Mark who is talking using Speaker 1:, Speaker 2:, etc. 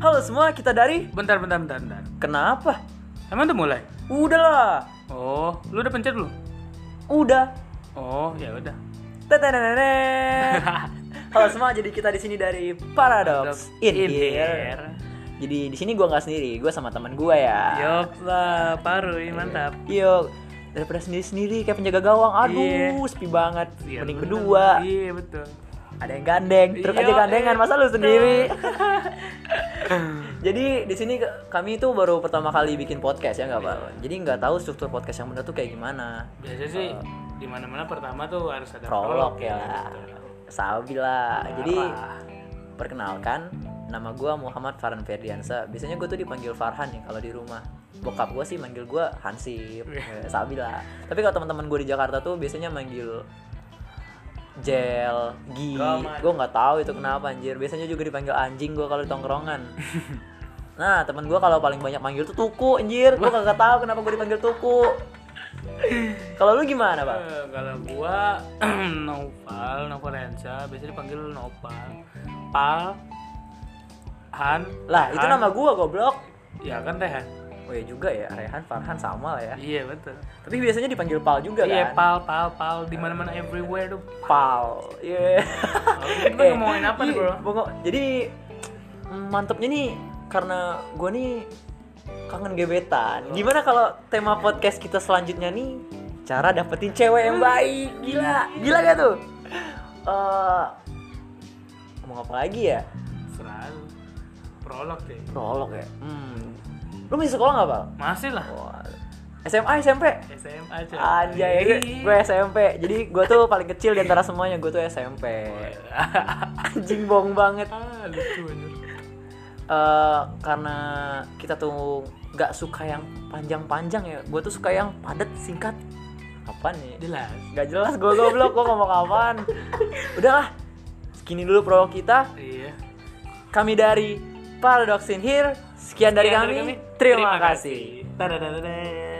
Speaker 1: Halo semua, kita dari
Speaker 2: Bentar, bentar, bentar, bentar.
Speaker 1: Kenapa?
Speaker 2: Emang udah mulai?
Speaker 1: Udahlah.
Speaker 2: Oh, lu udah pencet belum?
Speaker 1: Udah.
Speaker 2: Oh, ya udah.
Speaker 1: Tetenenenet. Halo semua, jadi kita di sini dari Paradox in, here. Jadi di sini gua nggak sendiri, gua sama teman gua ya.
Speaker 2: Yop Iya. lah, Parui, mantap.
Speaker 1: Yo, daripada sendiri-sendiri kayak penjaga gawang. Aduh,
Speaker 2: Iya.
Speaker 1: sepi banget.
Speaker 2: Iya,
Speaker 1: Mending
Speaker 2: bener.
Speaker 1: berdua.
Speaker 2: Iya, betul.
Speaker 1: Ada yang gandeng, truk aja
Speaker 2: Iya,
Speaker 1: gandengan,
Speaker 2: eh,
Speaker 1: masa lu
Speaker 2: betul.
Speaker 1: sendiri? Jadi di sini ke- kami itu baru pertama kali bikin podcast ya nggak apa-apa.
Speaker 2: Iya.
Speaker 1: Jadi nggak tahu struktur podcast yang benar tuh kayak gimana.
Speaker 2: Biasanya sih di mana-mana pertama tuh harus ada
Speaker 1: prolog ya
Speaker 2: betul.
Speaker 1: Sabi lah jadi
Speaker 2: Parah.
Speaker 1: perkenalkan nama gua Muhammad Farhan Ferdiansa biasanya gue tuh dipanggil Farhan ya kalau di rumah bokap gua sih manggil gua Hansip Eh, Sabi lah tapi kalau teman-teman gue di Jakarta tuh biasanya manggil Jel, Gi,
Speaker 2: Gaman.
Speaker 1: gue nggak tahu itu kenapa anjir. Biasanya juga dipanggil anjing gua kalau di tongkrongan. Nah teman gua kalau paling banyak manggil tuh Tuku anjir. Gue nggak tahu kenapa gue dipanggil Tuku. Kalau lu gimana bang?
Speaker 2: Eh, Kalau gua Noval, Novalensa, biasanya dipanggil Nopal. Pal, Han,
Speaker 1: Lah itu
Speaker 2: Han.
Speaker 1: nama gua goblok.
Speaker 2: Ya kan Rehan.
Speaker 1: Oh iya juga ya, Rehan, Farhan sama lah ya.
Speaker 2: Iya betul.
Speaker 1: Tapi biasanya dipanggil Pal juga
Speaker 2: Iya
Speaker 1: kan?
Speaker 2: pal pal pal di mana mana everywhere tuh.
Speaker 1: Pal. Iya.
Speaker 2: Kita
Speaker 1: Eh,
Speaker 2: ngomongin apa nih
Speaker 1: iya,
Speaker 2: bro?
Speaker 1: pokok- Jadi mm, mantepnya nih karena gue nih kangen gebetan.
Speaker 2: Oh.
Speaker 1: Gimana kalau tema podcast kita selanjutnya nih cara dapetin cewek yang baik?
Speaker 2: Hmm,
Speaker 1: Gila, gila gak tuh? Eh mau apa lagi ya?
Speaker 2: Selalu prolog deh.
Speaker 1: Prolog ya. Hmm. Lu masih sekolah nggak Pal?
Speaker 2: Masih lah
Speaker 1: Wah. SMA, SMP?
Speaker 2: SMA aja. Iya.
Speaker 1: Anjay, gue SMP. Jadi gue tuh paling kecil di antara semuanya, gue tuh SMP. Anjing bohong banget.
Speaker 2: ah lucu bener.
Speaker 1: Eh, karena kita tuh nggak suka yang panjang-panjang ya. Gue tuh suka yang padat, singkat. Apa nih?
Speaker 2: Jelas.
Speaker 1: Gak jelas gue goblok, gue ngomong apaan. Udahlah, segini dulu pro kita.
Speaker 2: Iya.
Speaker 1: Kami
Speaker 2: Iya,
Speaker 1: dari Paradoxin Here. Sekian dari kami. Terima kasih.
Speaker 2: Tadadadada.